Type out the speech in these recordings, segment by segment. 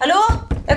Hallo? Jeg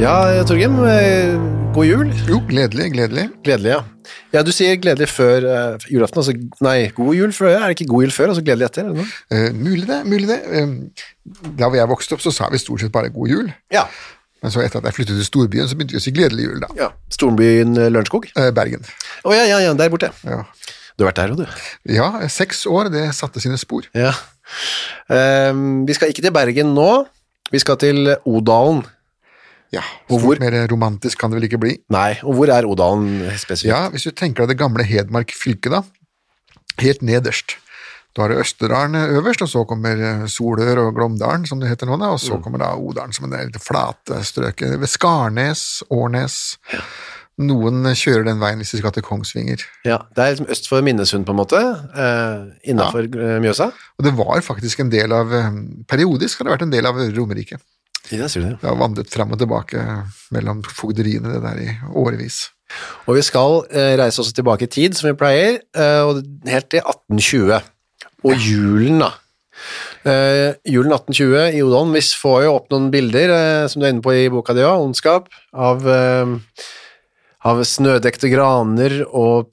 Ja, Torgrim. eh, God jul. Jo, gledelig, gledelig. Gledelig, ja. Ja, Du sier gledelig før eh, julaften. altså Nei, god jul før. Er det ikke god jul før, altså gledelig etter? Eller noe? Eh, mulig det, mulig det. Eh, da hvor jeg vokste opp, så sa vi stort sett bare 'god jul'. Ja. Men så etter at jeg flyttet til storbyen, så begynte vi å si 'gledelig jul', da. ja. Stormbyen eh, Lørenskog? Eh, Bergen. Å ja, ja, ja, der borte. Ja. Du har vært der òg, du. ja, seks år, det satte sine spor. Ja. Ehm, vi skal ikke til Bergen nå. Vi skal til Odalen. Ja, Og og hvor- hvor mer romantisk kan det vel ikke bli? Nei, og hvor er Odalen spesifikt? Ja, hvis du tenker deg det gamle Hedmark fylke, da. Helt nederst. Da har du Østerdalen øverst, og så kommer eh, Solør og Glåmdalen, som det heter nå, da, og så kommer da Odalen som en del flate strøket ved Skarnes, Årnes. Noen kjører den veien hvis de skal til Kongsvinger. Ja, det er liksom øst for Minnesund, på en måte. eh, Innafor eh, Mjøsa. Og det var faktisk en del av eh, Periodisk har det vært en del av Romerike. Ja, sier du det. Det har vandret fram og tilbake eh, mellom fogderiene det der i årevis. Og vi skal eh, reise også tilbake i tid, som vi pleier, eh, og helt til 1820. Og julen, da. Eh, julen 1820 i Odalen. Vi får jo opp noen bilder, eh, som du er inne på i boka di òg, 'Ondskap', av, eh, av snødekte graner og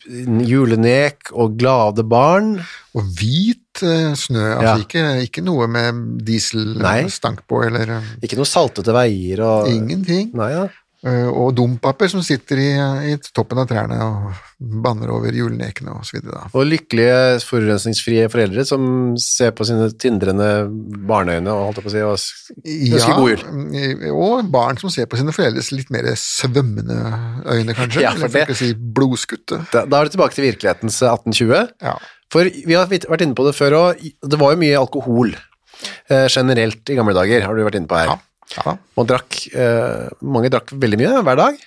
julenek og glade barn. Og hvit eh, snø, altså Ja. ikke, ikke noe med Nei. dieselstank på, eller eh, Ikke noe saltete veier og ingenting. Nei, ja. Eh, Og dompaper som sitter i, i toppen av trærne og banner over julenekene og så videre. Da. Og lykkelige, forurensningsfrie foreldre som ser på sine tindrende barneøyne og holdt jeg på å si, og s- ønsker god jul. mm, Og barn som ser på sine foreldres litt mer svømmende øyne, kanskje. Ja, for eller for det- ikke å si blodskutte. Da, da er du tilbake til virkelighetens 1820. Ja. For vi har vit- vært inne på det før òg, det var jo mye alkohol eh, generelt i gamle dager, har du vært inne på her. Ja. ja. Man drakk, eh, mange drakk veldig mye hver dag,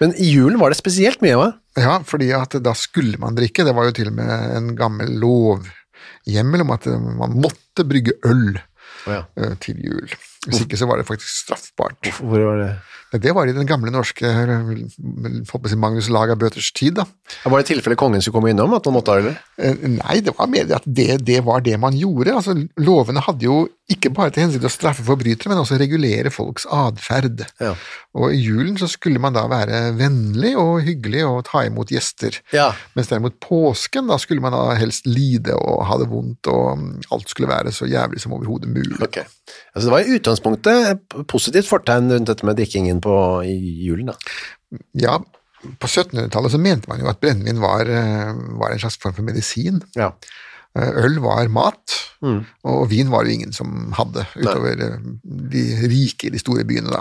men i julen var det spesielt mye. hva? ja, fordi at da skulle man drikke. Det var jo til og med en gammel lovhjemmel om at eh, man måtte brygge øl eh, til jul. Hvis ikke så var det faktisk straffbart. Hvor var det? Det var i den gamle norske eh, holdt på å si Magnus Lagabøters tid, da. Ja, var det tilfelle kongen skulle komme innom, at man måtte ha øl? Eh, Nei, det var mer det at det, det var det man gjorde. Altså, lovene hadde jo ikke bare til hensikt å straffe forbrytere, men også regulere folks atferd. Ja. Og i julen så skulle man da være vennlig og hyggelig og ta imot gjester. Ja. Mens derimot påsken, da skulle man da helst lide og ha det vondt, og mm, alt skulle være så jævlig som overhodet mulig. Ok. Altså, det var i utgangspunktet et positivt fortegn rundt dette med drikkingen på, i julen. Da. Ja, på 1700-tallet så mente man jo at brennevin var, eh, var en slags form for medisin. Ja. Eh, Øl var mat, og vin var det ingen som hadde, utover eh, de rike i de store byene, da.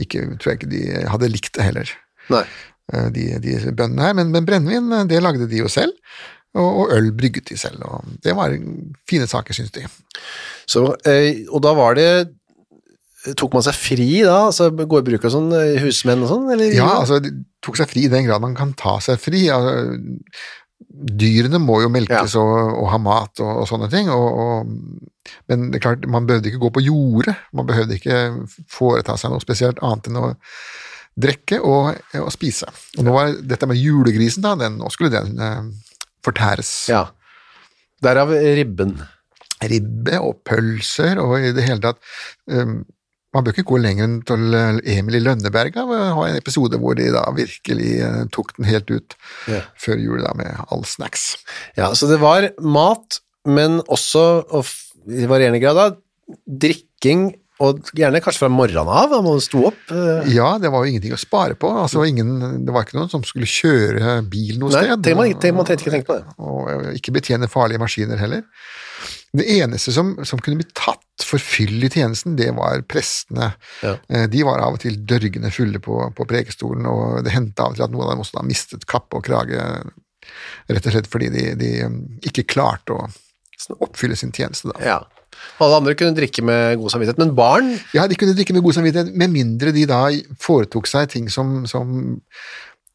Ikke, tror jeg ikke de hadde likt det heller, Nei. eh, de, de bøndene her. Men, men brennevin, eh, det lagde de jo selv, og, og øl brygget de selv. Og det var fine saker, syns de. Så, eh, og da var det Tok man seg fri da? Altså gårdbruk og sånn, eh, husmenn og sånn? eller? Ja, altså, de tok seg fri i den grad man kan ta seg fri. Altså, Dyrene må jo melkes Ja. og, og ha mat og, og sånne ting, og, og, men det er klart, man behøvde ikke gå på jordet. Man behøvde ikke foreta seg noe spesielt annet enn å drikke og, og spise. Og nå var dette med julegrisen, da, den, nå skulle den eh, fortæres. Ja. Derav ribben. Ribbe og pølser og i det hele tatt eh, Man bør ikke gå lenger enn til eh, Emil i Lønneberga. hvor jeg har en episode hvor de da virkelig eh, tok den helt ut Ja. før jul da med all snacks. Ja, så det var mat, men også, og f- i varierende grad da, drikking, og gjerne kanskje fra morgenen av, da man sto opp. eh, Ja, det var jo ingenting å spare på. Altså, ingen, det var ikke noen som skulle kjøre bil noe Nei, sted. tenk man- tenk- man trengte ikke tenke på det. Og, og ikke betjene farlige maskiner heller. Det eneste som, som kunne bli tatt for fyll i tjenesten, det var prestene. Ja. Eh, De var av og til dørgende fulle på, på prekestolen, og det hendte av og til at noen av dem også da mistet kappe og krage, rett og slett fordi de, de um, ikke klarte å oppfylle sin tjeneste. Da. Ja. Alle andre kunne drikke med god samvittighet, men barn, Ja, de kunne drikke med god samvittighet, med mindre de da foretok seg ting som, som,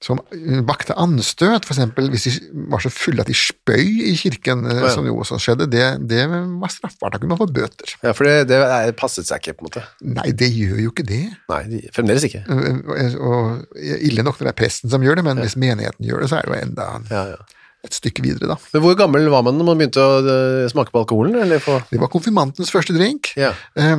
som uh, vakte anstøt, f.eks. hvis de var så fulle at de spøy i kirken, eh, ja. som jo også skjedde. Det, det var straffbart, da kunne man få bøter. ja, for det, det er- passet seg ikke på en måte. Nei, det gjør jo ikke det. Nei, de, fremdeles ikke. Eh, Og ille nok når det er presten som gjør det, men hvis menigheten gjør det, så er det jo enda Ja, ja. et stykke videre, da. Men hvor gammel var man når man begynte å eh, smake på alkoholen, eller få... Det var konfirmantens første drink, Ja. eh,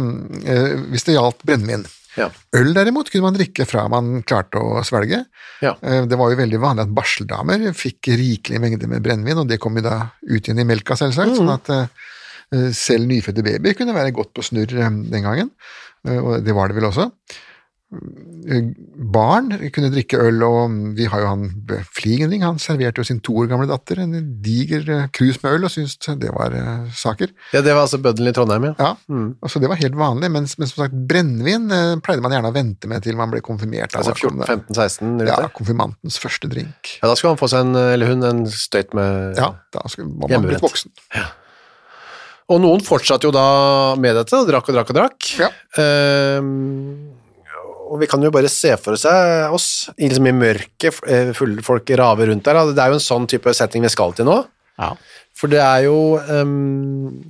eh, hvis det gjaldt brennevin. Ja. Øl derimot kunne man drikke fra man klarte å svelge. Ja. Eh, Det var jo veldig vanlig at barseldamer fikk rikelige mengder med brennevin, og det kom jo da ut igjen i melka, selvsagt. sånn at eh, selv nyfødte babyer kunne være godt på snurr eh, den gangen, Eh, og det var det vel også. Eh, Barn kunne drikke øl, og mm, vi har jo han B- Fligenring, han serverte jo sin to år gamle datter en diger eh, krus med øl, og syntes det var eh, saker. Ja, det var altså bøddelen i Trondheim, ja. Ja, og Så det var helt vanlig, men, men som sagt, brennevin eh, pleide man gjerne å vente med til man ble konfirmert. da. Altså Da 14, kom det- 15, 16, rundt Ja, der. konfirmantens første drink. Ja, da skulle han få seg en, eh, eller hun, en støyt med... Ja, da skulle- var man Hjemmebrent. blitt voksen. Og noen fortsatte jo da med dette, og drakk og drakk og drakk. Ja. Ehm, og vi kan jo bare se for seg oss i, liksom i mørket, f- eh, fulle folk raver rundt der. da. Det er jo en sånn type setting vi skal til nå. For det er jo ehm,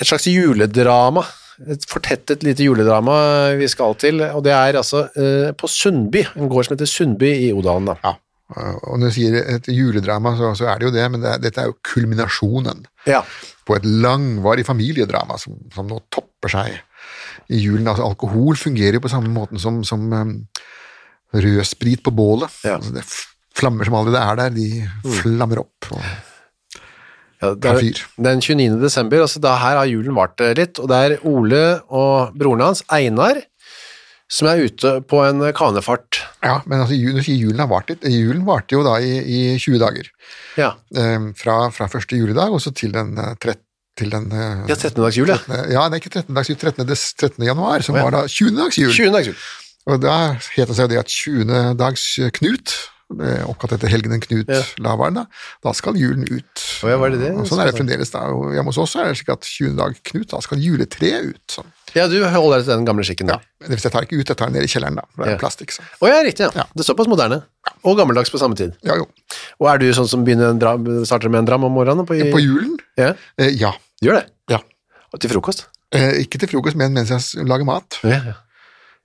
et slags juledrama. Et fortettet lite juledrama vi skal til, og det er altså eh, på Sundby, en gård som heter Sundby i Odalen. da. Ja. Og når du sier et juledrama, så, så er det jo det, men det, er- dette er jo kulminasjonen Ja. på et langvarig familiedrama som, som nå topper seg i julen. Altså, alkohol fungerer jo på samme måten som, som um, rød sprit på bålet. Ja. Altså, det f- flammer som allerede er der, de flammer opp. Og, Ja, det er, Fyr. den 29. desember, altså da her har julen vart eh, litt, og det er Ole og broren hans, Einar, som er ute på en eh, kanefart. ja, men altså, ju- når du sier julen har vart litt, julen varte jo da i, i 20 dager. Ja, eh, fra, fra første juledag og så til den eh, trett, til den eh, de har 13. dags jul, ja. eh, ja, det er ikke 13. dags jul, 13. Des, 13. januar, som Å, ja. var da 20. dags jul. 20. dags jul. Og da het det seg jo det at 20. dags Knut, eh, oppkalt etter helgenen Knut Ja. Lavaren, da, da skal julen ut. Å, ja, var det det? Og sånn er det fremdeles da. Og hjemme hos oss er det slik at 20. dag Knut, da skal juletreet ut. Sånn. Ja, du holder deg til den gamle skikken Ja. da. Det vil si, jeg tar ikke ut, jeg tar det ned i kjelleren, da. For det er Ja. plastikk, sånn. så. Å ja, riktig, ja. Ja. Det er såpass moderne. Og gammeldags på samme tid. Ja, jo. Og er du sånn som begynner en dram, starter med en dram om morgenen? På, På julen? Ja, Eh, ja. du gjør det. Ja. Og til frokost. Eh, ikke til frokost, men mens jeg s- lager mat. Ja, ja.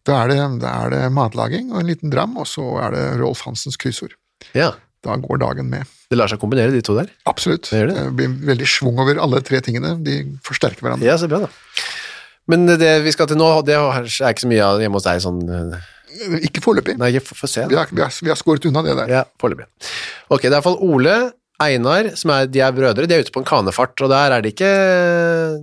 Da er, det, da er det matlaging og en liten dram, og så er det Rolf Hansens kryssord. ja. Da går dagen med. Det lar seg kombinere, de to der. Absolutt. Det gjør det. blir veldig schwung over alle tre tingene. De forsterker hverandre. Ja, så bra da. Men det vi skal til nå, det er ikke så mye av hjemme hos deg sånn... eh, Ikke foreløpig. Nei, få få se da. Vi har, vi, har, vi har skåret unna det der. Ja, foreløpig. Ok, det er i hvert fall Ole, Einar, som er, de er brødre, de er ute på en kanefart, og der er det ikke,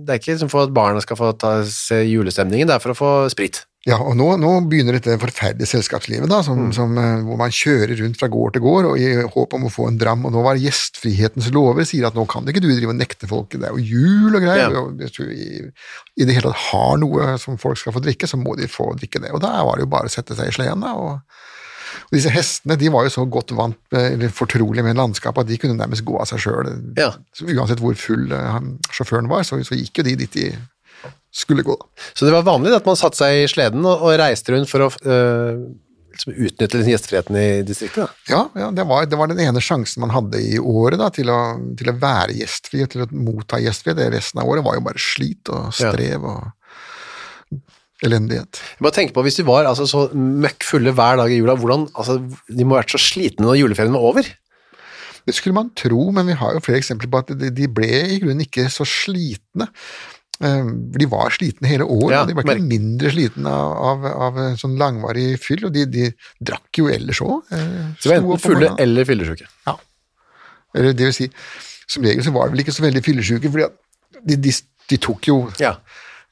det er ikke liksom for at barna skal få ta, se julestemningen, det er for å få sprit. Ja, og nå, nå begynner dette forferdelige selskapslivet, da, som, Mm. som, eh, hvor man kjører rundt fra gård til gård og i håp om å få en dram. Og nå var gjestfrihetens lover sier at nå kan det ikke du drive og nekte folk, det er jo jul og greier. Ja. Og hvis du i, I det hele tatt har noe som folk skal få drikke, så må de få drikke det. Og da var det jo bare å sette seg i sleden, da. Og, og disse hestene de var jo så godt vant med, eller fortrolig med landskapet at de kunne nærmest gå av seg sjøl. Ja. Uansett hvor full eh, han- sjåføren var, så, så gikk jo de dit de skulle gå. da. Så det var vanlig at man satte seg i sleden og, og reiste rundt for å øh, liksom utnytte liksom gjestfriheten i distriktet. Da. Ja, ja det, var, det var den ene sjansen man hadde i året da, til å, til å være gjestfri, til å motta gjestfri. Det resten av året var jo bare slit og strev og elendighet. Jeg bare tenker på, Hvis de var altså, så møkkfulle hver dag i jula, hvordan, altså, de må ha vært så slitne når juleferien var over. Det skulle man tro, men vi har jo flere eksempler på at de, de ble i grunnen ikke så slitne. Eh, De var slitne hele året, Ja, og de ble ikke merk- mindre slitne av, av, av sånn langvarig fyll, og de, de drakk jo ellers eh, òg. Så de var enten fulle eller fyllesyke. Ja. Eller det vil si, som regel så var de vel ikke så veldig fyllesyke, fordi at de, de, de tok jo Ja.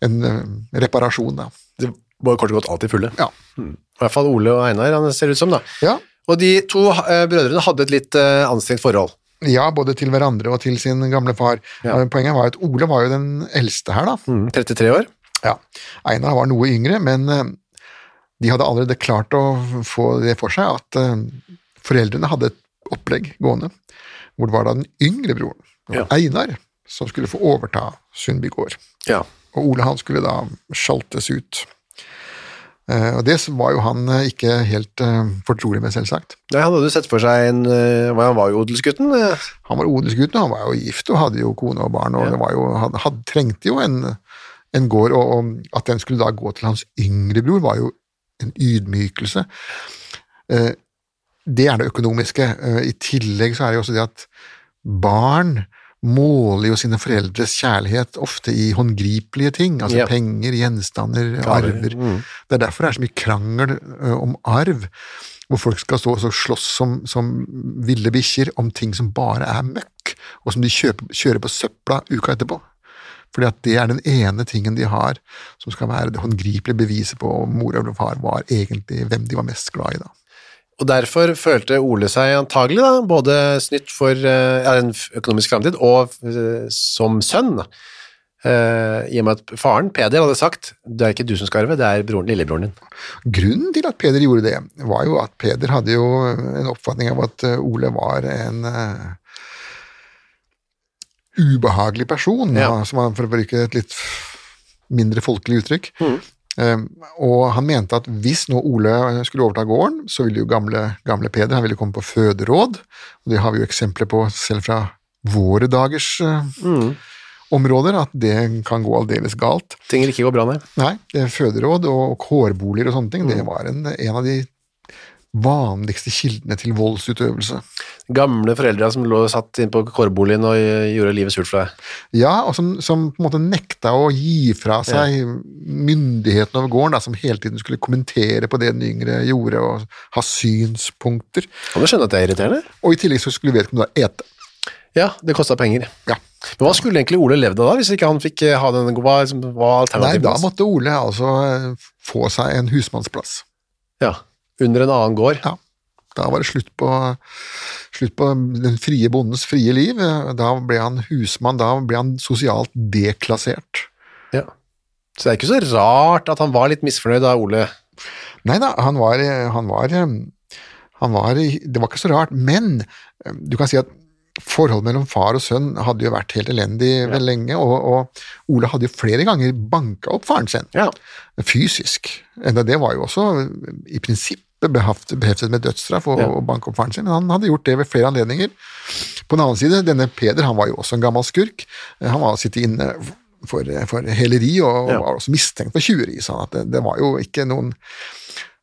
en eh, reparasjon, da. De var kort og godt alltid fulle. Ja. I hvert fall Ole og Einar, han ser det ut som. da. Ja. Og de to eh, brødrene hadde et litt eh, anstrengt forhold. ja, både til hverandre og til sin gamle far. Ja. Men Poenget var jo at Ole var jo den eldste her, da. 33 år. Ja, Einar var noe yngre, men eh, de hadde allerede klart å få det for seg at eh, foreldrene hadde et opplegg gående, hvor det var da den yngre broren, Ja. Einar, som skulle få overta Sundby gård. Ja. Og Ole han skulle da sjaltes ut. Eh, Og det var jo han eh, ikke helt eh, fortrolig med, selvsagt. Nei, Han hadde jo sett for seg en eh, Han var jo odelsgutten. eh. Han var odelsgutten, og han var jo gift og hadde jo kone og barn, og det var jo, han hadde, trengte jo en, en gård, og, og at den skulle da gå til hans yngre bror, var jo en ydmykelse. Eh, Det er det økonomiske. Eh, I tillegg så er det jo også det at barn måler jo sine foreldres kjærlighet ofte i håndgripelige ting, altså Ja. penger, gjenstander, arver. Det er derfor det er så mye krangel ø, om arv, hvor folk skal stå og så slåss som, som ville bikkjer om ting som bare er møkk, og som de kjøper, kjører på søpla uka etterpå. Fordi at det er den ene tingen de har som skal være det håndgripelige beviset på om mor eller far var egentlig hvem de var mest glad i. da. Og derfor følte Ole seg antagelig da, både snytt for eh, ja, en f- økonomisk framtid og eh, som sønn. da. Eh, I og med at faren, Peder, hadde sagt det er ikke du som skal arve, det er broren, lillebroren din. Grunnen til at Peder gjorde det, var jo at Peder hadde jo en oppfatning av at eh, Ole var en eh, ubehagelig person, Ja. da, som han, for å bruke et litt mindre folkelig uttrykk. Eh, og han mente at hvis nå Ole skulle overta gården, så ville jo gamle, gamle Peder han ville komme på føderåd, og det har vi jo eksempler på selv fra våre dagers eh, områder, at det kan gå aldeles galt. Ting vil ikke gå bra, nei. Nei, det er føderåd og kårboliger og sånne ting, det var en, en av de vanligste kildene til voldsutøvelse. Gamle foreldre som lå satt inn på kårboligen og eh, gjorde livet surt for deg. Ja, og som, som på en måte nekta å gi fra seg myndigheten over gården, da, som hele tiden skulle kommentere på det den yngre gjorde, og ha synspunkter. Kan du skjønne at det er irriterende? Og i tillegg så skulle vedkommende da ete. Ja, det kosta penger. Ja. Men hva skulle egentlig Ole levd av da, hvis ikke han fikk eh, ha den Hva liksom, hva var Nei, alternativet? da hans? måtte Ole altså eh, få seg en husmannsplass. Ja, Under en annen gård. Ja. Da var det slutt på, slutt på den frie bondens frie liv. Da ble han husmann, da ble han sosialt deklassert. Ja. Så det er ikke så rart at han var litt misfornøyd da, Ole. Nei da, han var, han var, han var Det var ikke så rart, men eh, du kan si at forholdet mellom far og sønn hadde jo vært helt elendig vel lenge, og, og Ole hadde jo flere ganger banka opp faren sin. Ja. fysisk. Enda det var jo også i prinsippet behaft- beheftet med dødsstraff og, Ja. og banke opp faren sin. Han hadde gjort det ved flere anledninger. På den annen side, denne Peder han var jo også en gammel skurk. Eh, Han var sittet inne for, for heleri og, og Ja. var også mistenkt for tjuveri. Sånn at det, det var jo ikke noen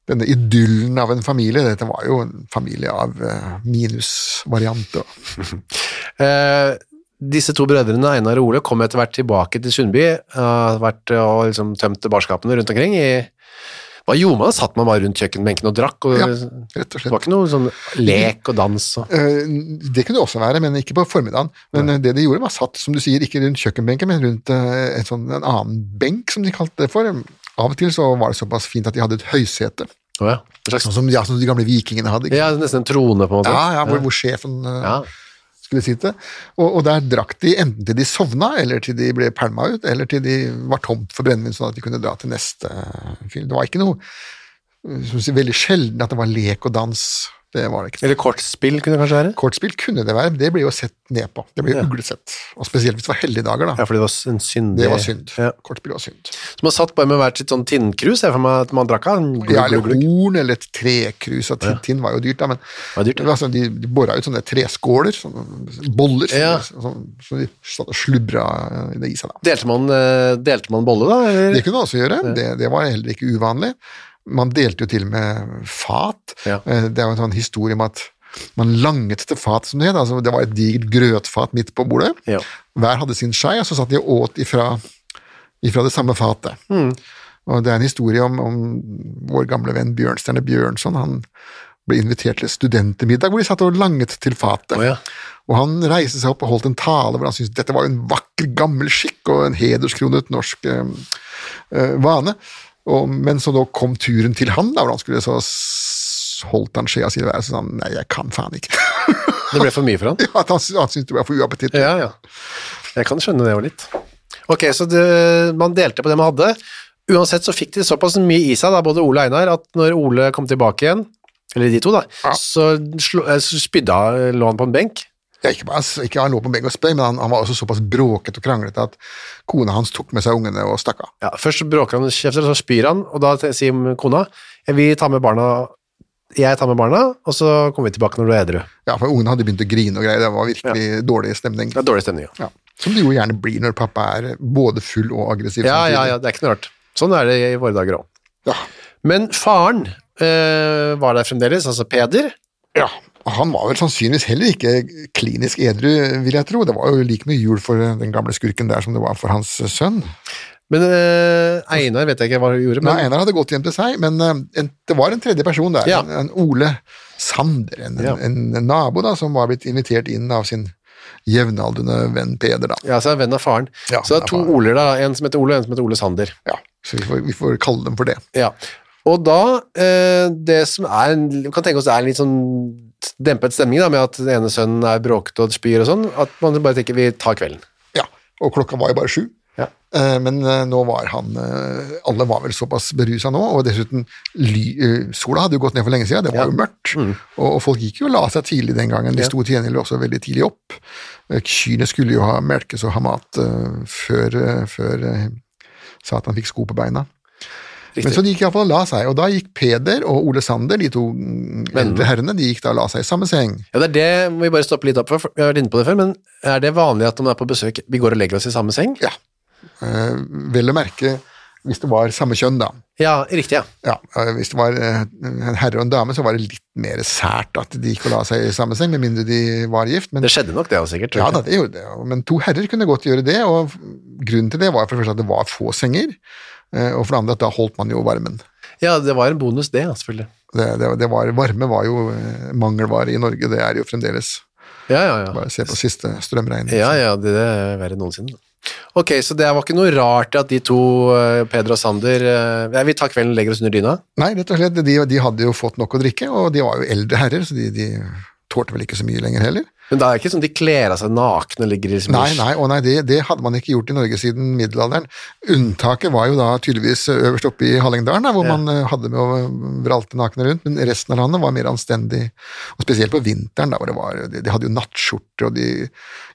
denne idyllen av en familie, dette var jo en familie av eh, minusvariant. og- Eh, disse to brødrene, Einar og Ole, kom etter hvert tilbake til Sundby har vært, eh, og liksom tømte barskapene rundt omkring. I, hva gjorde man? da? Satt man bare rundt kjøkkenbenken og drakk? Og, Ja, det Rett og slett. var ikke noe sånn lek og dans? Og, Eh, Det kunne det også være, men ikke på formiddagen. Men eh, det de gjorde, var satt som du sier, ikke rundt kjøkkenbenken, men rundt eh, en, sånn, en annen benk, som de kalte det for. Av og til så var det såpass fint at de hadde et høysete, Å ja. En slags, sånn som, ja, som de gamle vikingene hadde. Ikke? ja, nesten en trone, på en måte. Ja, ja, hvor, hvor sjefen eh, Ja. skulle sitte. Og, og der drakk de enten til de sovna, eller til de ble pælma ut, eller til de var tomt for brennevin, sånn at de kunne dra til neste fyr. Det var ikke noe eh, som sier, veldig sjelden at det var lek og dans. Det var det ikke. Eller kortspill kunne det kanskje være? Kortspill kunne det være, men det ble jo sett ned på. Det ble jo uglesett. Og spesielt hvis det var helligdager, da. Ja, fordi det var en syndig Det var synd. Ja. Kortspill var synd. Som har satt bare med hvert sitt sånn tinnkrus, jeg for meg at man drakk av. Ja, eller horn, eller et trekrus. Og tin, tin var jo dyrt, da, men var dyrt, ja. det var sånn, de, de bora ut sånne treskåler, sånne boller, Ja. som som de satt og slubra i det i seg. da. Delte man, eh, delte man bolle, da? Eller? Det kunne man også gjøre, det, det var heller ikke uvanlig. Man delte jo til og med fat. Ja. Eh, Det er jo en sånn historie om at man langet etter fat, som det het. Altså, det var et digert grøtfat midt på bordet. Ja. Hver hadde sin skei, og så satt de og åt ifra, ifra det samme fatet. Hmm. Og det er en historie om, om vår gamle venn Bjørnstjerne Bjørnson. Han ble invitert til et studentmiddag hvor de satt og langet til fatet. Å ja. Og han reiste seg opp og holdt en tale hvor han syntes dette var jo en vakker, gammel skikk og en hederskronet norsk eh, eh, vane. Og, men så da kom turen til han, da, hvor han skulle så s- holdt han skjea si i været, så sa han nei, jeg kan faen ikke. Det ble for mye for han? At han, sy- han syntes det var for uappetittlig. Ja, ja. Jeg kan skjønne det jo litt. Ok, så det, man delte på det man hadde. Uansett så fikk de såpass mye i seg, da, både Ole og Einar, at når Ole kom tilbake igjen, eller de to da, så, slo, eh, så spydde han- lå han på en benk. Ja, ikke bare s- ikke han lå på begge og spøy, men han, han var også såpass bråkete og kranglete at kona hans tok med seg ungene og stakk av. Ja, først så bråker han kjefter, så spyr han, og da te- sier kona, «Ja, vi tar med barna, jeg tar med barna, og så kommer vi tilbake når du er edru. Ja, for ungene hadde begynt å grine og greier, det var virkelig dårlig stemning. Det er dårlig stemning, ja. Ja. Som det jo gjerne blir når pappa er både full og aggressiv. Ja, ja, samtidig. ja, det er ikke noe rart. Sånn er det i våre dager også. Ja. Men faren eh, var der fremdeles, altså Peder. Ja, og han var vel sannsynligvis heller ikke klinisk edru, vil jeg tro. Det var jo like mye jul for den gamle skurken der som det var for hans sønn. Men eh, Einar vet jeg ikke hva hun gjorde, men Nei, Einar hadde gått hjem til seg, men eh, en, det var en tredje person der, Ja. en, en Ole Sander, en, Ja. en, en nabo da, som var blitt invitert inn av sin jevnaldrende venn Peder. da. ja, så er han venn av faren. Ja, så det venn av er to faren. Oler, da. En som heter Ole, og en som heter Ole Sander. Ja, så vi får, vi får kalle dem for det. Ja. Og da, eh, det som er en, Vi kan tenke oss det er en litt sånn dempet stemning da, med at den ene sønnen er bråkete og spyr og sånn, at man bare tenker vi tar kvelden. Ja, og klokka var jo bare sju. Ja. Eh, Men eh, nå var han eh, Alle var vel såpass berusa nå, og dessuten ly, eh, Sola hadde jo gått ned for lenge siden, det var jo mørkt. Og, og folk gikk jo og la seg tidlig den gangen. De sto til gjengjeld også veldig tidlig opp. Eh, Kyrne skulle jo ha melkes og ha mat eh, før, eh, før eh, Satan fikk sko på beina. Men så de gikk iallfall og la seg, og da gikk Peder og Ole Sander, de to mm, eldre herrene, de gikk da og la seg i samme seng. Ja, det er det må vi bare stoppe litt opp for, for vi har vært inne på det før, men er det vanlig at når man er på besøk, vi går og legger oss i samme seng? Ja. Eh, Vel å merke hvis det var samme kjønn, da. Ja, riktig, ja. Ja, eh, Hvis det var eh, en herre og en dame, så var det litt mer sært at de gikk og la seg i samme seng, med mindre de var gift. Men, Det skjedde nok, det også, sikkert. tror ja, jeg. da, det gjorde det. jo. men to herrer kunne godt gjøre det, og grunnen til det var for det første at det var få senger, eh, og for det andre at da holdt man jo varmen. ja, det var en bonus, det, ja, selvfølgelig. Det, det, det var, varme var jo eh, mangelvare i Norge, det er jo fremdeles. Ja, ja, ja. Bare se på siste strømregning. Ja, ja, det er verre enn noensinne. Ok, så det var ikke noe rart at de to, eh, Peder og Sander, eh, ja, vi tar kvelden og legger oss under dyna. Nei, rett og slett, de, de hadde jo fått nok å drikke, og de var jo eldre herrer, så de, de tålte vel ikke så mye lenger heller. Men da er det ikke sånn de kler av seg nakne og ligger i smurs. Nei, nei, og nei det, det hadde man ikke gjort i Norge siden middelalderen. Unntaket var jo da tydeligvis eh, øverst oppe i Hallingdalen, da, hvor man eh, hadde med å vralte nakne rundt, men resten av landet var mer anstendig. Og spesielt på vinteren, da, hvor det var, de, de hadde jo nattskjorter og de,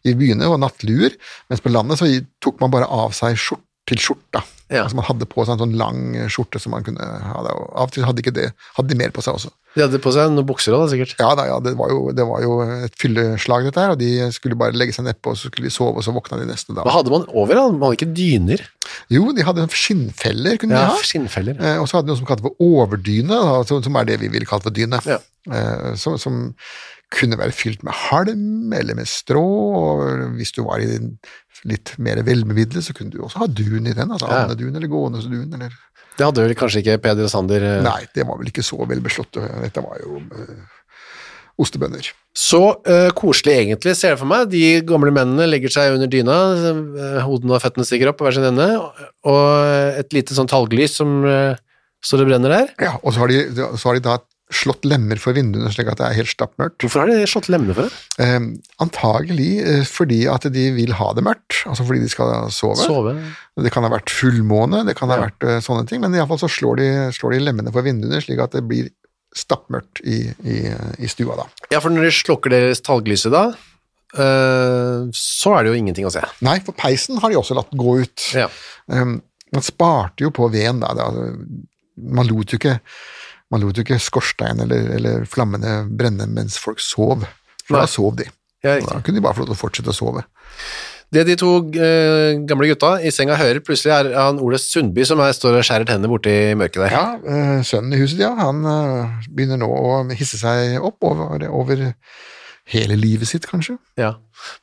i byene og nattluer, mens på landet så i- tok man bare av seg skjort til skjorta. Ja. Altså man hadde på seg en sånn lang skjorte som man kunne ha, da, og av og til hadde ikke det, hadde de mer på seg også. De hadde på seg noen bukser også, da, sikkert. Ja, da, ja det, var jo, det var jo et fylleslag dette her, og de skulle bare legge seg nedpå, og så skulle de sove, og så våkna de neste dag. Hva hadde man over da? Man hadde ikke dyner. Jo, de hadde sånn skinnfeller, kunne Ja, de ha. skinnfeller. Eh, Og så hadde de noe som kaltes for overdyne, da, altså, som- som er det vi ville kalt for dyne. Ja. Eh, Som, som kunne være fylt med halm eller med strå. og Hvis du var i den litt mer velbemidlet, så kunne du også ha dun i den. altså Ja. Andedun eller gåendesdun. Eller... Det hadde vel kanskje ikke Peder og Sander. eh. Nei, det var vel ikke så velbeslått. Dette var jo eh, ostebønner. Så eh, koselig egentlig, ser jeg for meg. De gamle mennene legger seg under dyna, eh, hodene og føttene stikker opp på hver sin ende, og et lite sånn talglys som eh, står og brenner der. Ja, og så har de, så har de da slått lemmer for vinduene, slik at det er helt stappmørkt. Hvorfor har de slått lemmene for det? Eh, antagelig eh, fordi at de vil ha det mørkt, altså fordi de skal sove. Sove. Det kan ha vært fullmåne, det kan ha Ja. vært eh, sånne ting, men iallfall så slår de, slår de lemmene for vinduene, slik at det blir stappmørkt i, i, i stua da. Ja, for når de slukker deres talglyset da, eh, så er det jo ingenting å se. Nei, for peisen har de også latt gå ut. Ja. Um, Man sparte jo på veden, da. da. Man lot jo ikke, man lot jo ikke skorstein eller, eller flammene brenne mens folk sov. For Nei. da sov de. Ja, Og riktig. da kunne de bare få lov til å fortsette å sove. Det de to eh, gamle gutta i senga hører plutselig er han Ole Sundby som er, står og skjærer tennene borti mørket der. Ja, eh, Sønnen i huset, ja, han eh, begynner nå å hisse seg opp over, over hele livet sitt, kanskje. Ja.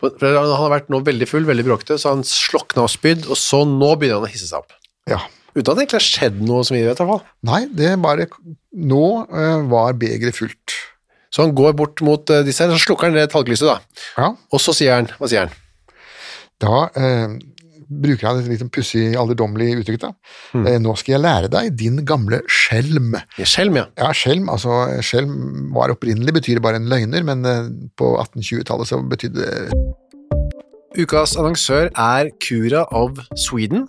For for han har vært nå veldig full, veldig bråkete, så han slokna og spydd, og så nå begynner han å hisse seg opp. Ja. Uten at det egentlig har skjedd noe som vi vet, i hvert fall. Nei, det bare Nå eh, var begeret fullt. Så han går bort mot eh, disse her, så slukker han det talglyset, da. Ja. Og så sier han Hva sier han? Da eh, bruker han et litt sånn pussig, alderdommelig uttrykk. da. Eh, 'Nå skal jeg lære deg din gamle skjelm'. Ja, Skjelm, ja. Ja, skjelm, altså eh, skjelm var opprinnelig betyr bare en løgner, men eh, på 1820-tallet så betydde det Ukas annonsør er Cura of Sweden.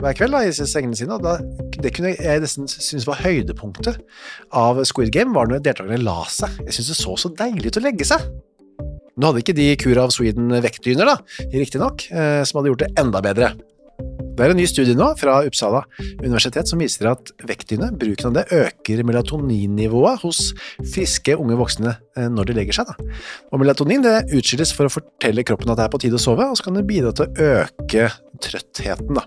hver kveld da, i sengene sine, og da, det kunne jeg nesten synes var høydepunktet av Squid Game, var når deltakerne la seg. Jeg synes det så så deilig ut å legge seg. Nå hadde ikke de Cura of Sweden vektdyner, da, riktignok, eh, som hadde gjort det enda bedre. Det er en ny studie nå fra Uppsala universitet som viser at vektdyne, bruken av det, øker melatoninnivået hos friske unge voksne eh, når de legger seg. da. Og melatonin det utskilles for å fortelle kroppen at det er på tide å sove, og så kan det bidra til å øke trøttheten. Da.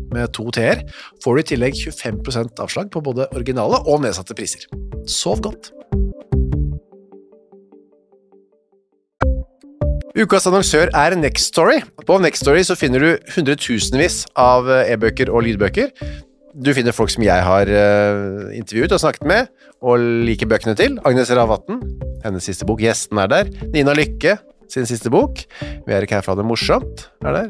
med to t-er, får du i tillegg 25 avslag på både originale og nedsatte priser. Sov godt! Ukas annonsør er Next Story. På Next Story så finner du hundretusenvis av eh, e-bøker og lydbøker. Du finner folk som jeg har eh, intervjuet og snakket med, og liker bøkene til. Agnes Ravatn, hennes siste bok. Gjesten er der. Nina Lykke, sin siste bok. Vi er ikke her for å ha det morsomt. er der.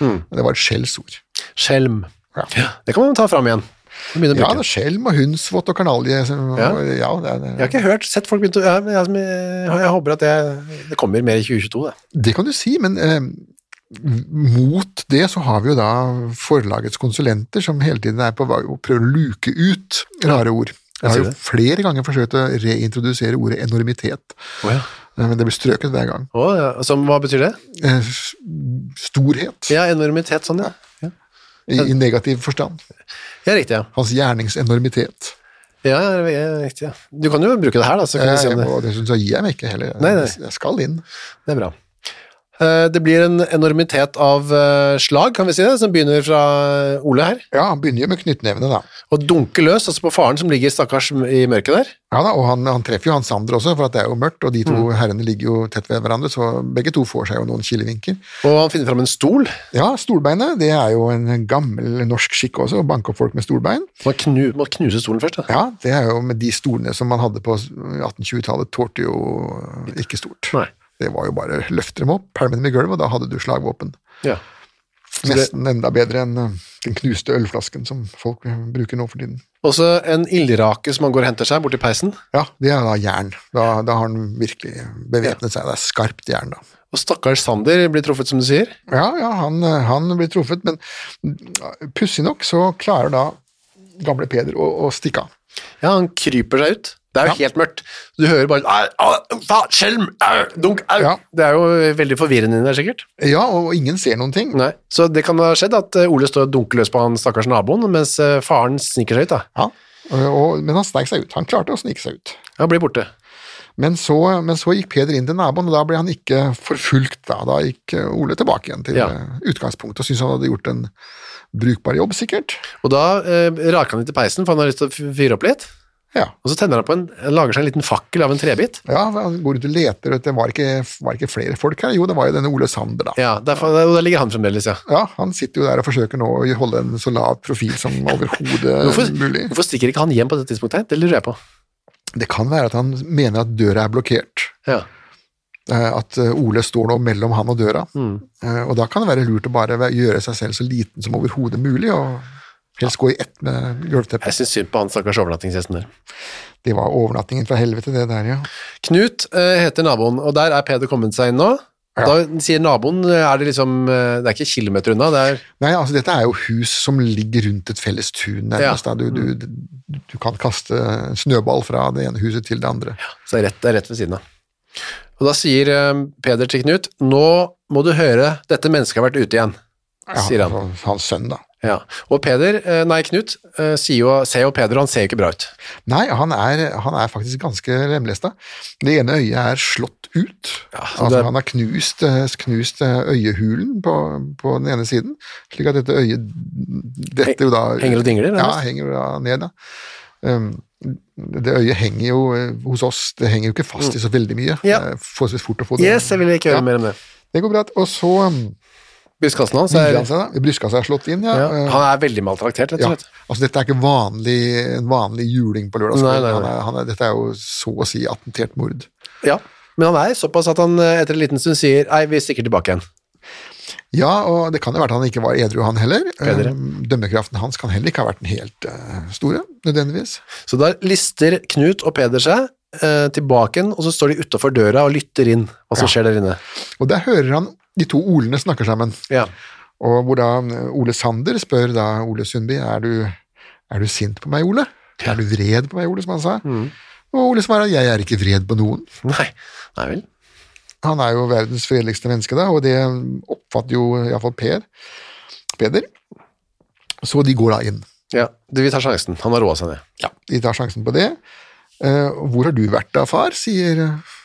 Mm. Det var et skjellsord. Skjelm. Ja. Det kan man ta fram igjen. Begynne å Ja, bruke det. det er skjelm og hundsvott og kanalje. som- Ja. og- Ja, det, er- Jeg har ikke hørt, sett folk begynte å... Jeg, jeg, jeg, jeg håper at jeg, det kommer mer i 2022, det. det kan du si, men eh, mot det så har vi jo da forlagets konsulenter som hele tiden er på vei og prøver å luke ut rare ord. Jeg har ser jo det. flere ganger forsøkt å reintrodusere ordet enormitet, Å ja. eh, men det blir strøket hver gang. Som, hva betyr det? Eh, s- Storhet, Ja, enormitet, sånn, ja. i, i negativ forstand. Ja, riktig, ja. Hans gjerningsenormitet. Ja, ja, ja, riktig, ja. Du kan jo bruke det her, da, så kan Eh, vi se om det... og det synes jeg gir jeg meg ikke heller. Nei, nei. Jeg skal inn. Det er bra. Eh, Det blir en enormitet av eh, slag, kan vi si det, som begynner fra eh, Ole her, Ja, han begynner jo med knyttnevene, da. og dunker løs, altså på faren som ligger stakkars i mørket der. Ja da, og han, han treffer jo han Sander også, for at det er jo mørkt, og de to herrene ligger jo tett ved hverandre, så begge to får seg jo noen kilevinker. Og han finner fram en stol, Ja, stolbeinet, det er jo en gammel norsk skikk også, å banke opp folk med stolbein. man knu, må knuse stolen først. Da. Ja, det er jo med de stolene som man hadde på 1820-tallet, tålte jo ikke stort. Nei. Det var jo bare å løfte dem opp, pælme dem i gulvet, og da hadde du slagvåpen. Ja. Nesten enda bedre enn eh, den knuste ølflasken som folk eh, bruker nå for tiden. Og så en ildrake som man går og henter seg borti peisen. Ja, det er da jern. Da, da har han virkelig bevæpnet seg. Det er skarpt jern, da. Og stakkars Sander blir truffet, som du sier. Ja, ja, han, eh, han blir truffet, men mm, pussig nok så klarer da gamle Peder å, å stikke av. Ja, han kryper seg ut. Det er jo Ja. helt mørkt. Du hører bare au, au, fa- skjelm, au, dunk, au. Ja. Det er jo veldig forvirrende inni der, sikkert. Ja, og ingen ser noen ting. Nei. Så det kan ha skjedd at eh, Ole står og dunker løs på han stakkars naboen, mens eh, faren sniker seg ut. da. Ja, og, og, men han snek seg ut. Han klarte å snike seg ut. Han blir borte. Men så, men så gikk Peder inn til naboen, og da ble han ikke forfulgt. Da, da gikk eh, Ole tilbake igjen til Ja. eh, utgangspunktet og syntes han hadde gjort en brukbar jobb, sikkert. Og da eh, raker han litt i peisen, for han har lyst til å f- fyre opp litt. Ja, Og så tenner han på en, han lager seg en liten fakkel av en trebit. ja han går rundt og leter, og det var ikke, var ikke flere folk her. Jo, det var jo denne Ole Sander, da. Ja, derfor, Og der ligger han fremdeles, ja. Ja, Han sitter jo der og forsøker nå å holde en så lav profil som Hvorfor, overhodet mulig. hvorfor stikker ikke han hjem på dette tidspunktet? her? Det lurer jeg på. Det kan være at han mener at døra er blokkert. Ja. Eh, at eh, Ole står nå mellom han og døra. Mm. Eh, Og da kan det være lurt å bare væ- gjøre seg selv så liten som overhodet mulig, og helst gå i ett med gulvteppet. Jeg syns synd på han stakkars overnattingsgjesten der. Det var overnattingen fra helvete, det der, ja. Knut eh, heter naboen, og der er Peder kommet seg inn nå. Ja. Da sier naboen eh, er det liksom eh, Det er ikke kilometer unna, det er Nei, altså dette er jo hus som ligger rundt et felles tun, nærmest. Ja. Mm. Da. Du, du, du kan kaste en snøball fra det ene huset til det andre. så det er rett, det er rett ved siden av. Og da sier eh, Peder til Knut Nå må du høre, dette mennesket har vært ute igjen, Ja, sier han. altså, Hans sønn, da. Ja. Og Peder, eh, nei, Knut eh, sier jo, ser jo Peder, og han ser jo ikke bra ut. Nei, han er, han er faktisk ganske lemlesta. Det ene øyet er slått ut. så altså, det- Han har knust, eh, knust eh, øyehulen på, på den ene siden, slik at dette øyet detter jo da Henger og dingler, Ja, nærmest. henger jo da ned, da. Um, det øyet henger jo eh, hos oss, det henger jo ikke fast i så veldig mye. Mm. Ja. Det er Forholdsvis fort å få det Yes, jeg vil ikke høre Ja. mer om det. Det går bra. Og så um, Brystkassen hans vrir er han seg, da. Brystkassa er slått inn, ja. ja, Eh, Han er veldig maltraktert, rett ja. og slett. Altså, dette er ikke vanlig, en vanlig juling på Nei, nei, lørdagskvelden. Han nei. er- han er- Dette er jo så å si attentert mord. Ja. Men han er såpass at han eh, etter en liten stund sier Nei, vi stikker tilbake igjen. Ja, og det kan jo være at han ikke var edru, han heller. Bedre. Eh, Dømmekraften hans kan heller ikke ha vært den helt eh, store, nødvendigvis. Så da lister Knut og Peder seg eh, tilbake, igjen, og så står de utafor døra og lytter inn hva som skjer der inne. Og der hører han de to Olene snakker sammen, Ja. og hvor da eh, Ole Sander spør da Ole Sundby er du, er du sint på meg, Ole? Er du vred på meg, Ole, som han sa? Mm. Og Ole svarer jeg er ikke vred på noen. Nei, nei vel. Han er jo verdens fredeligste menneske, da, og det oppfatter jo iallfall Per. Peder. Så de går da inn. Ja, du, vi tar sjansen. Han har roa seg ned. De tar sjansen på det. Eh, hvor har du vært da, far? sier eh,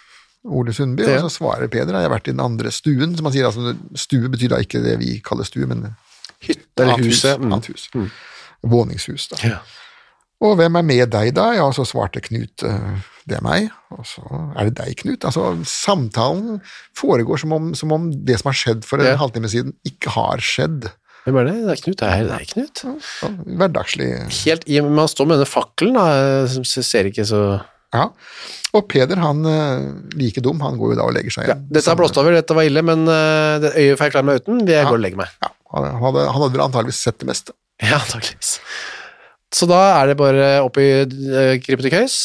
Ole Sundby, Ja. og så svarer Peder jeg har vært i den andre stuen. som han sier, altså Stue betyr da ikke det vi kaller stue, men Hytte eller annet hus, huset. Mm. Annet hus. Våningshus, da. Ja. Og hvem er med deg, da? Ja, så svarte Knut eh, det er meg. Og så er det deg, Knut. Altså, samtalen foregår som om, som om det som har skjedd for en Ja. halvtime siden, ikke har skjedd. Hvem er det? Det er Knut. Det er, det er Knut. Sånn, Hverdagslig. Helt i, men han står med denne fakkelen, da, som s- ser ikke så Ja. Og Peder, han eh, like dum, han går jo da og legger seg ja, igjen. Dette er blåst over, dette var ille, men eh, det øyet får jeg klare meg uten. Jeg går og legger meg. Ja, han hadde, han hadde vel antageligvis sett det meste. Ja, antakeligvis. Så da er det bare opp i eh, krypet til køys.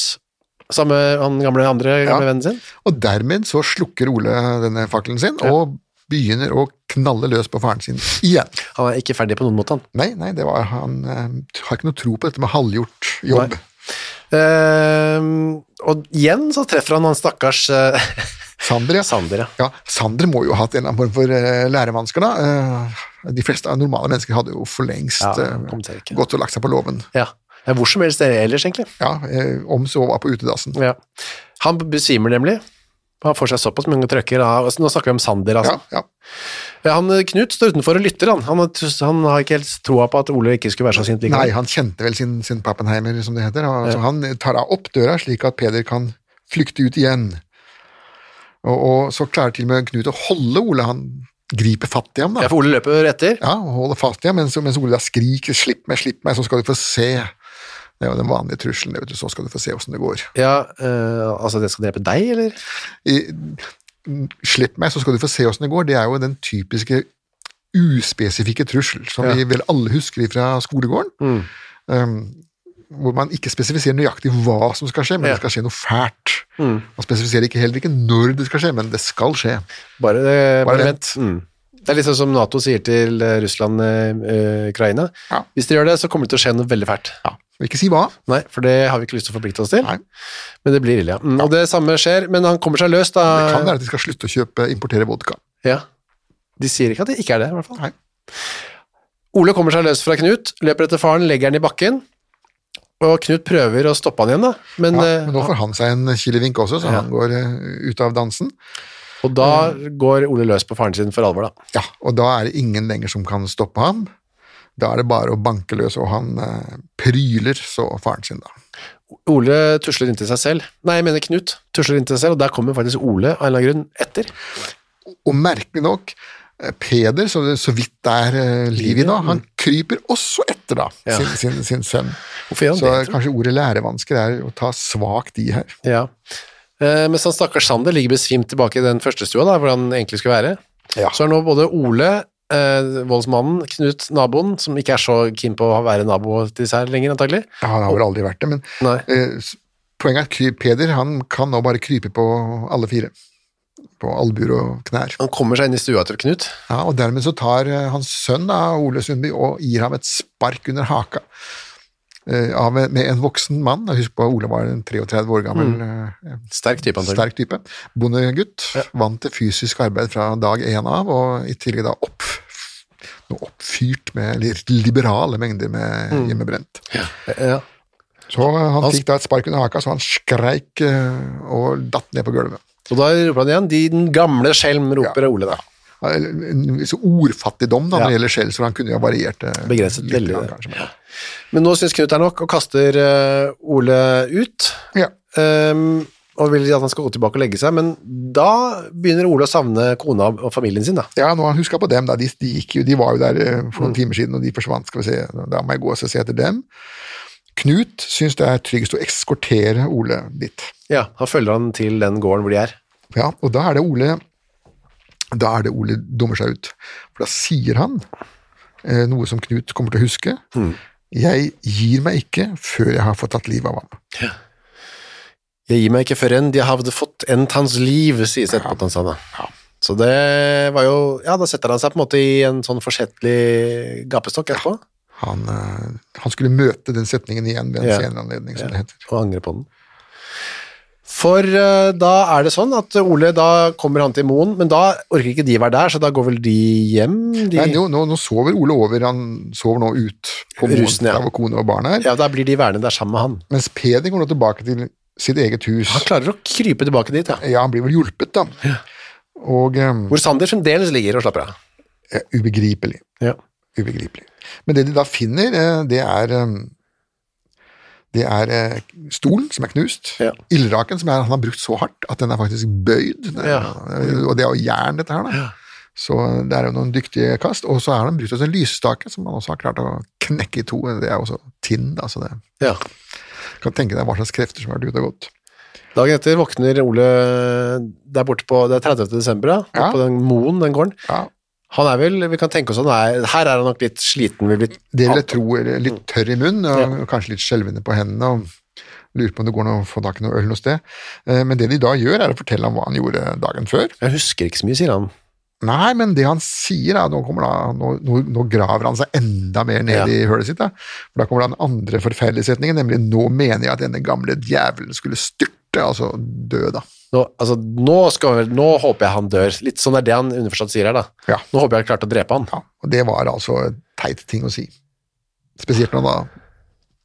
Samme han gamle andre Ja. gamle vennen sin. Og dermed så slukker Ole denne fakkelen sin, og begynner å knalle løs på faren sin igjen. Han er ikke ferdig på noen måte, han. Nei, nei, det var, han eh, har ikke noe tro på dette med halvgjort jobb. Nei. Ehm, og igjen så treffer han han stakkars eh, Sander, ja. Sander, ja. Ja, Sander må jo ha hatt en eller annen form for eh, lærevansker, da. Eh, De fleste av normale mennesker hadde jo for lengst Ja, eh, kom seg ikke. gått og lagt seg på låven. ja. Ja, Hvor som helst ellers, egentlig. Ja, eh, om så var på utedassen. Ja. Han besvimer nemlig. Han får seg såpass mange trøkker. av- altså, Nå snakker vi om Sander, Ja, altså. ja. Ja, han, eh, Knut står utenfor og lytter, han. Han, har- han har ikke helt troa på at Ole ikke skulle være så sint Nei, likevel. han kjente vel sin, sin Pappenheimer, som det heter. Og, så han tar da opp døra, slik at Peder kan flykte ut igjen. Og, og så klarer til og med Knut å holde Ole. Han griper fatt i ham, da. Ja, for Ole løper etter. Ja, og holder fast i ham, mens, mens Ole da skriker 'slipp meg, slipp meg', så skal du få se. Det er jo den vanlige trusselen, det vet du, så skal du få se åssen det går. Ja, eh, altså, det skal drepe deg, eller? I, 'slipp meg, så skal du få se åssen det går', det er jo den typiske uspesifikke trussel som vi vel alle husker fra skolegården. Mm. Um, hvor man ikke spesifiserer nøyaktig hva som skal skje, men Ja. det skal skje noe fælt. Mm. Man spesifiserer ikke heller ikke når det skal skje, men det skal skje. Bare, eh, Bare bare vent. vent. Mm. Det er litt sånn som Nato sier til eh, Russland og Ukraina. Ja. Hvis dere gjør det, så kommer det til å skje noe veldig fælt. Og Ikke si hva. Nei, for det har vi ikke lyst til å forplikte oss til. Nei. Men det blir ille, ja. Mm, Og det samme skjer, men han kommer seg løs, da. Det kan være at de skal slutte å kjøpe, importere vodka. Ja. De sier ikke at det ikke er det, i hvert fall. Nei. Ole kommer seg løs fra Knut, løper etter faren, legger han i bakken, og Knut prøver å stoppe han igjen, da. Men, Ja, eh, men nå får han seg en kilevink også, så Ja. han går eh, ut av dansen. Og da går Ole løs på faren sin for alvor, da. Ja, og da er det ingen lenger som kan stoppe ham. Da er det bare å banke løs, og han eh, pryler så faren sin, da. Ole tusler inntil seg selv. Nei, jeg mener Knut tusler inntil seg selv, og der kommer faktisk Ole av en eller annen grunn etter. Og merkelig nok, eh, Peder, så, så vidt det er eh, liv i nå, han kryper også etter da, Ja. sin, sin, sin sønn. Hvorfor gjør han Så det? tror du? kanskje ordet lærevansker er å ta svakt i her. Ja. Eh, mens han stakkars Sander ligger besvimt tilbake i den første stua, da, hvor han egentlig skulle være, Ja. så er nå både Ole, eh, voldsmannen, Knut, naboen, som ikke er så keen på å være nabo til seg lenger, antagelig. Ja, han har vel aldri vært det, men Nei. eh, s- poenget er at Kry- Peder han kan nå bare krype på alle fire. På albuer og knær. Han kommer seg inn i stua til Knut. Ja, og dermed så tar eh, hans sønn da, Ole Sundby og gir ham et spark under haka. eh, Av, en- med en voksen mann. Og Husk på Ole var en 33 år gammel Mm. eh, Sterk type, antagelig. sterk type. Bondegutt. Vant til fysisk arbeid fra dag én av, og i tillegg da opp, nå oppfyrt med li- liberale mengder med hjemmebrent. Mm. Ja. Så eh, han Han- fikk da et spark under haka, så han skreik eh, og datt ned på gulvet. Og da roper han igjen, de, den gamle skjelm, roper Ja. Ole da. Ja, eller, en- Så ordfattigdom da, Ja. når det gjelder skjell, så han kunne jo ha variert det Begrenset litt, veldig grann, det. kanskje, men- Men nå synes Knut det er nok, og kaster eh, Ole ut, Ja. ehm, og vil at han skal gå tilbake og legge seg, men da begynner Ole å savne kona og familien sin da. ja, nå har jeg huska på dem. Da. De, de, gikk jo, de var jo der eh, for Mm. noen timer siden, og de forsvant. Skal vi se. Da må jeg gå og se etter dem. Knut syns det er tryggest å ekskortere Ole dit. Ja, han følger han til den gården hvor de er. Ja, og da er det Ole Da er det Ole dummer seg ut. For da sier han eh, noe som Knut kommer til å huske. Mm. Jeg gir meg ikke før jeg har fått tatt livet av ham. Jeg gir meg ikke før enn de hadde fått endt hans liv, sies etterpå at han sa det. Så det var jo, ja, da setter han seg på en måte i en sånn forsettlig gapestokk etterpå, Han, eh, han skulle møte den setningen igjen ved en Ja. sånn senere anledning, som det heter. og angrer på den. For eh, da er det sånn at Ole, da kommer han til Moen, men da orker ikke de være der, så da går vel de hjem? De, Nei, nå, nå, nå sover Ole over, han sover nå ut på Rusen, morgenen ja. der hvor kone og barn er. Ja, da blir de værende der sammen med han. Mens Peder går nå tilbake til sitt eget hus. Han klarer å krype tilbake dit, ja. Ja, han blir vel hjulpet, da. Og eh, Hvor Sander fremdeles ligger og slapper av. ja, ubegripelig. Ja. Ubegripelig. Men det de da finner, eh, det er eh, det er eh, stolen som er knust, Ja. ildraken som er, han har brukt så hardt at den er faktisk bøyd, Det er- Ja. og det er jo jern dette her da. Så det er jo noen dyktige kast, og så har han brukt også en lysstake som han også har klart å knekke i to, det er også tinn da, så det ja. kan tenke deg hva slags krefter som har vært ute og gått. Dagen etter våkner Ole der borte på, det er 30. desember, da, Ja. på den Moen, den gården. Ja, Han er vel, vi kan tenke oss han er, her er han nok litt sliten, vil vi det vil jeg tro er litt tørr i munnen, og kanskje litt skjelvende på hendene, og lurer på om det går an å få tak i noe øl noe sted. Eh, Men det de da gjør, er å fortelle ham hva han gjorde dagen før. Jeg husker ikke så mye, sier han. Nei, men det han sier da, nå, kommer da, nå, nå, nå graver han seg enda mer ned Ja. i hølet sitt. Da. For da kommer den andre forferdelige setningen, nemlig 'nå mener jeg at denne gamle djevelen skulle styrte', altså dø, da. Nå, altså, nå, skal, vi- nå håper jeg han dør. Litt sånn er det han underforstått sier her, da. Ja. Nå håper jeg jeg klarte å drepe han. Ja, og det var altså en teit ting å si. Spesielt når han da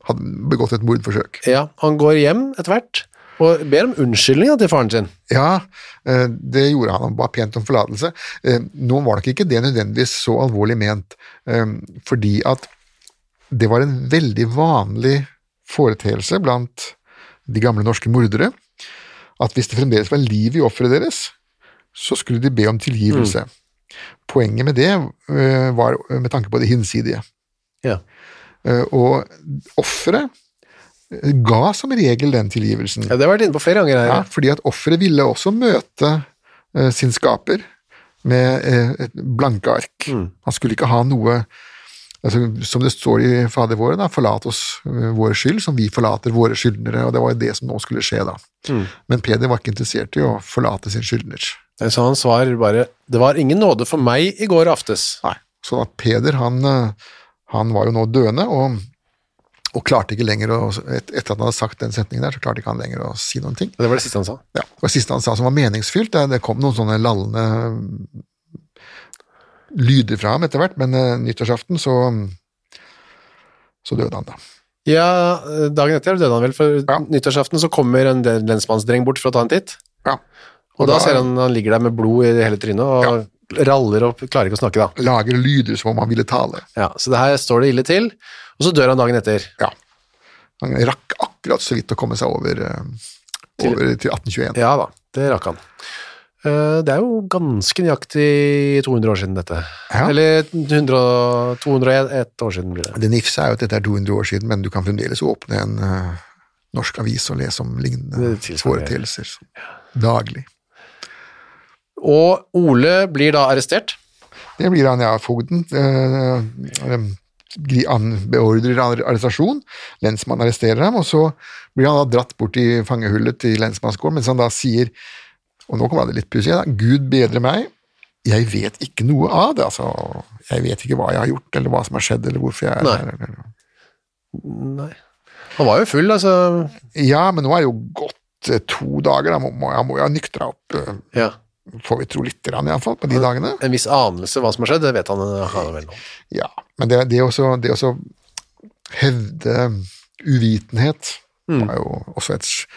hadde begått et mordforsøk. Ja, han går hjem etter hvert, og ber om unnskyldning da, til faren sin. Ja, eh, det gjorde han. Han ba pent om forlatelse. Eh, Nå var nok ikke det nødvendigvis så alvorlig ment, eh, fordi at det var en veldig vanlig foreteelse blant de gamle norske mordere, at hvis det fremdeles var liv i offeret deres, så skulle de be om tilgivelse. Poenget med det eh, var eh, med tanke på det hinsidige. Ja. Eh, Og offeret eh, ga som regel den tilgivelsen. Ja, det har jeg vært inne på flere ganger her. Ja, fordi at offeret ville også møte eh, sin skaper med eh, et blanke ark. Han skulle ikke ha noe altså, Som det står i Fader vår, da, forlat oss eh, vår skyld som vi forlater våre skyldnere. og Det var jo det som nå skulle skje, da. Men Peder var ikke interessert i å forlate sin skyldner. Så han svarer bare 'Det var ingen nåde for meg i går aftes'. Nei. Sånn at Peder, han, eh, han var jo nå døende, og, og klarte ikke lenger å et, Etter at han hadde sagt den setningen der, så klarte ikke han lenger å si noen ting. Det var det siste han sa. Ja. Og det siste han sa som var meningsfylt, det, det kom noen sånne lallende mm, lyder fra ham etter hvert, men eh, nyttårsaften så, mm, så døde han da. Ja, eh, dagen etter døde han vel, for Ja. nyttårsaften så kommer en del- lensmannsdreng bort for å ta en titt. Ja. Og, da, da- ser han han ligger der med blod i hele trynet og raller og klarer ikke å snakke, da. Lager lyder som om han ville tale. Ja, så det her står det ille til, og så dør han dagen etter. Ja. Han rakk akkurat så vidt å komme seg over, eh, over til 1821. Ja da, det rakk han. Eh, Det er jo ganske nøyaktig 200 år siden dette. Ja. Eller 100, og- 201 år siden blir det. Det nifse er jo at dette er 200 år siden, men du kan fremdeles åpne en eh, norsk avis og lese om lignende Det tilsvarer- foreteelser daglig. Og Ole blir da arrestert. Det blir han, ja, fogden. eh, eh, gri- han beordrer arre- arrestasjon, lensmannen arresterer ham, og så blir han da dratt bort i fangehullet til lensmannsgården, mens han da sier, og nå kommer det litt pussig, da, Gud bedre meg, jeg vet ikke noe av det, altså. Jeg vet ikke hva jeg har gjort, eller hva som har skjedd, eller hvorfor jeg er Nei. her. eller- Nei. Han var jo full, altså. Ja, men nå er det jo gått eh, to dager, da må, må, jeg må jo ha nyktra opp, eh, Ja. får vi tro litt grann i hvert fall, på de dagene. En viss anelse hva som har skjedd, det vet han, han vel nå. Ja, men det, det, også, det også hevde uvitenhet var jo også et, s-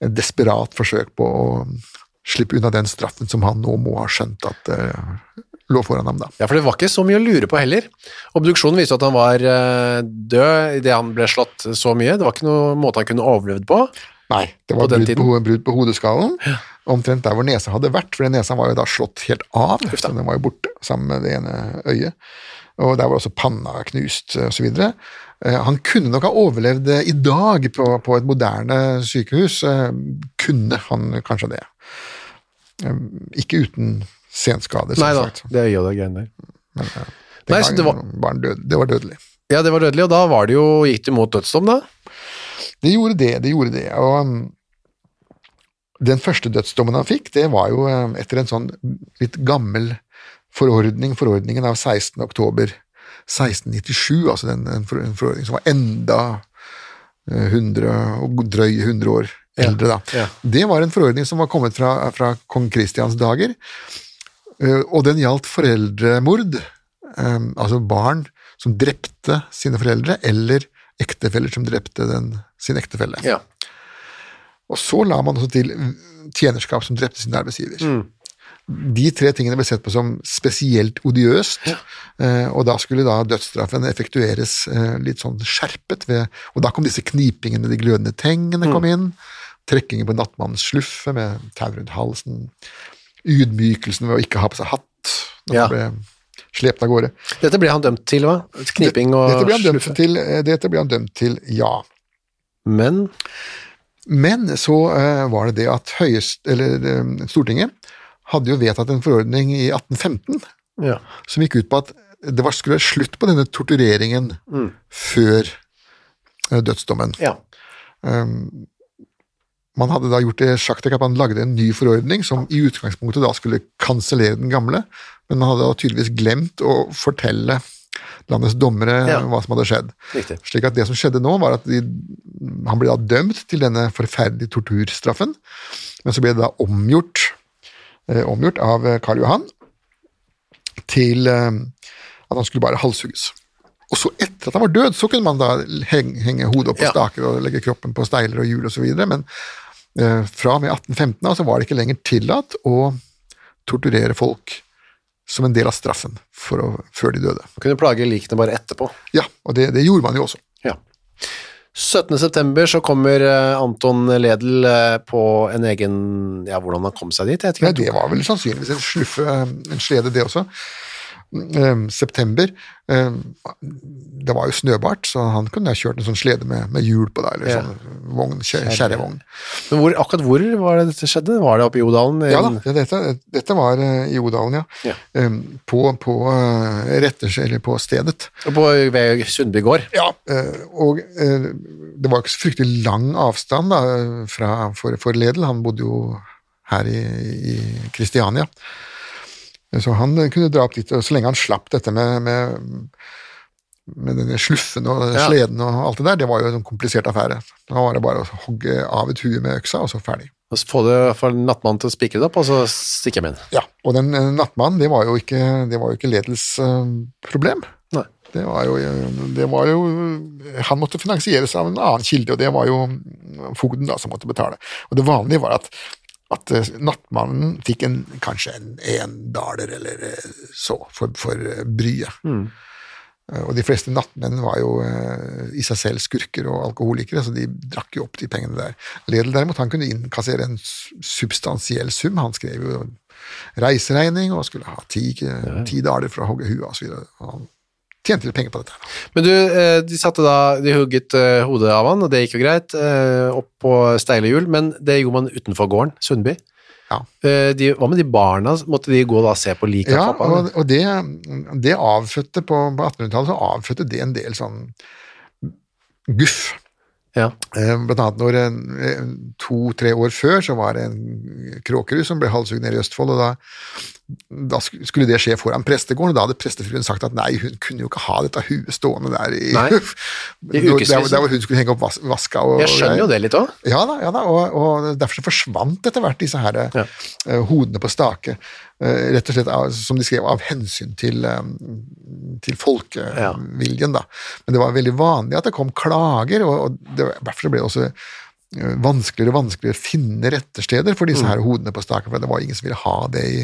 et desperat forsøk på å slippe unna den straffen som han nå må ha skjønt at eh, lå foran ham, da. Ja, for det var ikke så mye å lure på heller. Obduksjonen viste at han var eh, død idet han ble slått så mye. Det var ikke noen måte han kunne overlevd på. Nei, det På var den brudd på, tiden. ho- brudd på hodeskallen, omtrent der hvor nesa hadde vært, for den nesa var jo da slått helt av, så den var jo borte, sammen med det ene øyet. Og der var også panna knust, eh, osv. Eh, Han kunne nok ha overlevd eh, i dag på, på et moderne sykehus. eh, Kunne han kanskje det. Eh, Ikke uten senskader, Nei da, selvsagt. det øyet og de greiene der. Den Nei, så det var, gangen var han død, det var dødelig. ja, det var dødelig, og da var det jo, gikk det mot dødsdom, da. Det gjorde det, det gjorde det. Og um, den første dødsdommen han fikk, det var jo um, etter en sånn litt gammel forordning, forordningen av 16. oktober 1697, altså den, en for- en forordning som var enda eh, 100 og drøy 100 år eldre, da. ja. Det var en forordning som var kommet fra, fra kong Kristians dager, eh, og den gjaldt foreldremord, eh, altså barn som drepte sine foreldre, eller ektefeller som drepte den, sin ektefelle. Ja. Og så la man også til tjenerskap som drepte sin arbeidsgiver. Mm. De tre tingene ble sett på som spesielt odiøst, eh, og da skulle da dødsstraffen effektueres eh, litt sånn skjerpet ved Og da kom disse knipingene, de glødende tengene Mm. kom inn, trekkingen på nattmannens sluffe med tau rundt halsen, ydmykelsen ved å ikke ha på seg hatt når Ja. man ble slept av gårde. Dette ble han dømt til, hva? Kniping og Dette ble han dømt sluffe. til, eh, dette ble han dømt til ja. Men Men så eh, var det det at høyest, eller, eh, Stortinget hadde jo vedtatt en forordning i 1815 ja. som gikk ut på at det var, skulle være slutt på denne tortureringen før eh, dødsdommen. ja. Man hadde da gjort det sjakktrekk at man lagde en ny forordning som i utgangspunktet da skulle kansellere den gamle, men man hadde da tydeligvis glemt å fortelle landets dommere Ja. hva som hadde skjedd. Riktig. Slik at det som skjedde nå, var at de, han ble da dømt til denne forferdelige torturstraffen, men så ble det da omgjort, eh, omgjort av eh, Karl Johan til eh, at han skulle bare halshugges. Og så etter at han var død, så kunne man da henge, henge hodet opp på Ja. staker og legge kroppen på steiler og hjul osv., men eh, fra og med 1815 da, så var det ikke lenger tillatt å torturere folk som en del av straffen for å, før de døde. Han kunne plage likene bare etterpå. Ja, og det, det gjorde man jo også. Ja. 17. september så kommer eh, Anton Ledel eh, på en egen Ja, hvordan han kom seg dit, jeg vet Nei, ikke. det var vel sannsynligvis en sluffe, en slede det også. eh, september. Eh, det var jo snøbart, så han kunne ha kjørt en sånn slede med, med hjul på deg, eller Ja. sånn vogn, kjer- kjerrevogn. Men hvor, akkurat hvor var det dette skjedde? Var det oppe i Odalen? Ja da, ja, dette, dette var eh, i Odalen, ja. Ja. Eh, På, på eh, retters, eller på stedet. På, ved Sundby gård? Ja, eh, og eh, det var ikke så fryktelig lang avstand da, fra, for, for Ledel. Han bodde jo her i, i Kristiania. Så han eh, kunne dra opp dit, og så lenge han slapp dette med, med, med denne sluffen og Ja. sleden og alt det der, det var jo en sånn komplisert affære. Da var det bare å hogge av et hue med øksa, og så ferdig. Og så få, det, få nattmannen til å spikre det opp, og så stikker jeg meg inn. Ja, og den eh, nattmannen, det var jo ikke, det var jo ikke Ledels eh, problem. Nei. Det var, jo, det var jo Han måtte finansieres av en annen kilde, og det var jo fogden da som måtte betale. Og det vanlige var at, at eh, nattmannen fikk en, kanskje en endaler eller eh, så for, for bryet. Eh, Og de fleste nattmenn var jo eh, i seg selv skurker og alkoholikere, så de drakk jo opp de pengene der. Ledel derimot, han kunne innkassere en s- substansiell sum. Han skrev jo reiseregning og skulle ha ti, ti daler for å hogge huet osv. Han tjente litt penger på dette. Men du, eh, de satte da De hugget eh, hodet av han, og det gikk jo greit, eh, opp på steile hjul, men det gjorde man utenfor gården, Sundby. Ja, Eh, De, hva med de barna? Måtte de gå da og se på liket? ja av pappa, og, eller? og det, det avfødte på, på 1800-tallet så avfødte det en del sånn guff. ja. Eh, Blant annet når eh, to-tre år før så var det en kråkerud som ble halshugd nede i Østfold, og da, da sk- skulle det skje foran prestegården, og da hadde prestefruen sagt at nei, hun kunne jo ikke ha dette huet stående der i, Nei, i ukevis. liksom. der, der hvor hun skulle henge opp vas vaska og Jeg skjønner jo det litt òg. Ja da, ja da og, og derfor så forsvant etter hvert disse her eh, Ja. eh, hodene på stake, eh, rett og slett av, som de skrev, av hensyn til, eh, til folkeviljen. Da. Men det var veldig vanlig at det kom klager, og, og det, var- derfor så ble det også eh, vanskeligere og vanskeligere å finne rettersteder for disse her hodene på stake, for det var ingen som ville ha det i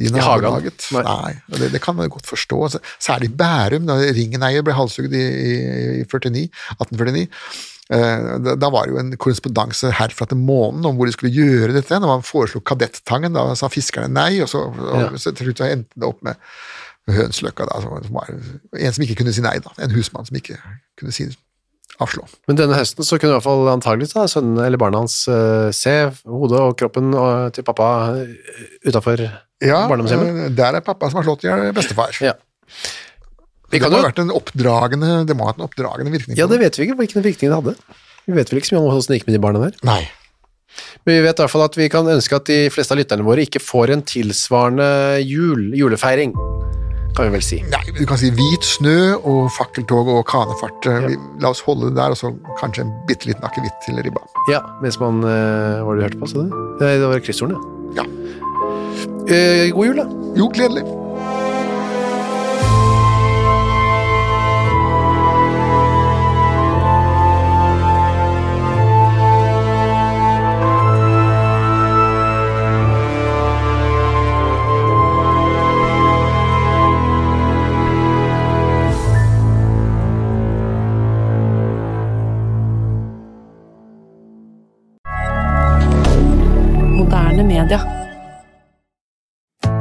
i hagen. nabolaget. Nei. Nei. og det, det kan man jo godt forstå. Altså, Særlig Bærum, da Ringeneier ble halshugd i, i, i 49, 1849. Eh, da, da var det jo en korrespondanse herfra til månen om hvor de skulle gjøre dette. Når man foreslo Kadettangen, da sa fiskerne nei, og så, og, så til slutt så endte det opp med Hønsløkka, da, som, som var en som ikke kunne si nei, da. En husmann som ikke kunne si avslå. Men denne høsten så kunne i hvert fall antageligvis da, sønnene eller barna hans eh, se hodet og kroppen eh, til pappa eh, utafor Ja, barndomshjemmet. eh, der er pappa som har slått i hjel bestefar. Ja. Vi Det kan må jo ha vært en oppdragende, det må ha hatt en oppdragende virkning. Ja, på det dem. vet vi ikke hvilken virkning det hadde. Vi vet vel ikke så mye om hvordan det gikk med de barna der. Nei. Men vi vet i hvert fall at vi kan ønske at de fleste av lytterne våre ikke får en tilsvarende jul, julefeiring, kan vi vel si. Nei, du kan si hvit snø og fakkeltog og kanefart. Vi, la oss holde det der, og så kanskje en bitte liten akevitt til ribba. Ja, mens man eh, Hva var det du hørte på, sa du? Nei, Det var kryssordene, ja. Ja. Eh, god jul, da. Jo, gledelig. Moderne media.